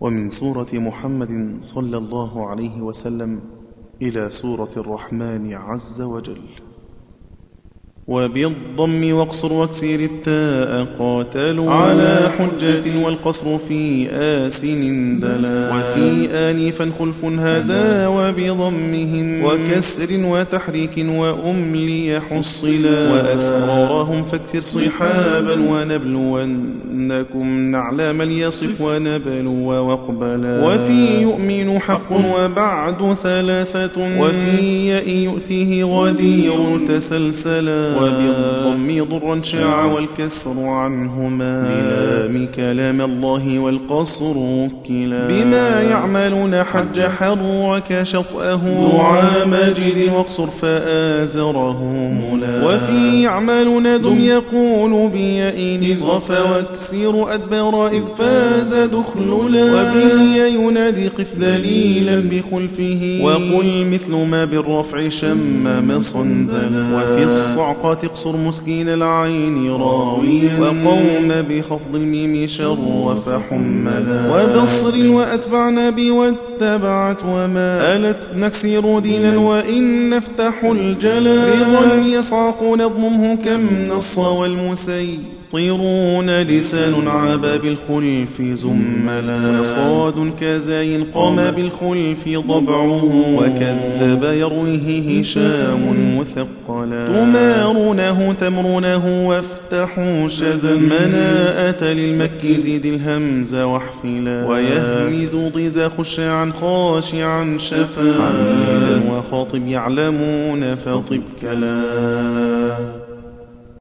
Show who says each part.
Speaker 1: ومن سورة محمد صلى الله عليه وسلم إلى سورة الرحمن عز وجل وبالضم واقصر واكسر التاء قاتلوا على حجة والقصر في آسن دلا وفي آنفا خلف هدى وبضمهم وكسر وتحريك وأملي حصلا وأسرارهم فاكسر صحابا ونبلونكم نعلم اليصف ونبلو وقبلا وفي يؤمن حق وبعد ثلاثة وفي يئ يؤتيه غدير تسلسلا وبالضم ضرا شاع والكسر عنهما للام كلام الله والقصر وكلا بما يعملون حج حرك شطأه دعا مجد واقصر فآزره ملا وفي يعملون دم يقول بيئن اصغف واكسر أدبر إذ فاز دخللا وبالياء ينادي قف ذليلا بخلفه وقل مثل ما بالرفع شمم صندلا وفي الصعق الأوقات اقصر مسكين العين راويا وقوم بخفض الميم شرف حملا وبصر وأتبعنا واتبعت وما ألت نكسر دينا وإن نفتح الجلا رضا يصعق نظمه كم نص والمسيب يطيرون لسان عبا بالخلف زملا صاد كزاين قام بالخلف ضبعه وكذب يرويه هشام مثقلا تمارونه تمرونه وافتحوا شذا مناءة للمك زيد الهمز واحفلا ويهمز ضز خشعا خاشعا شفا وخاطب يعلمون فطب كلا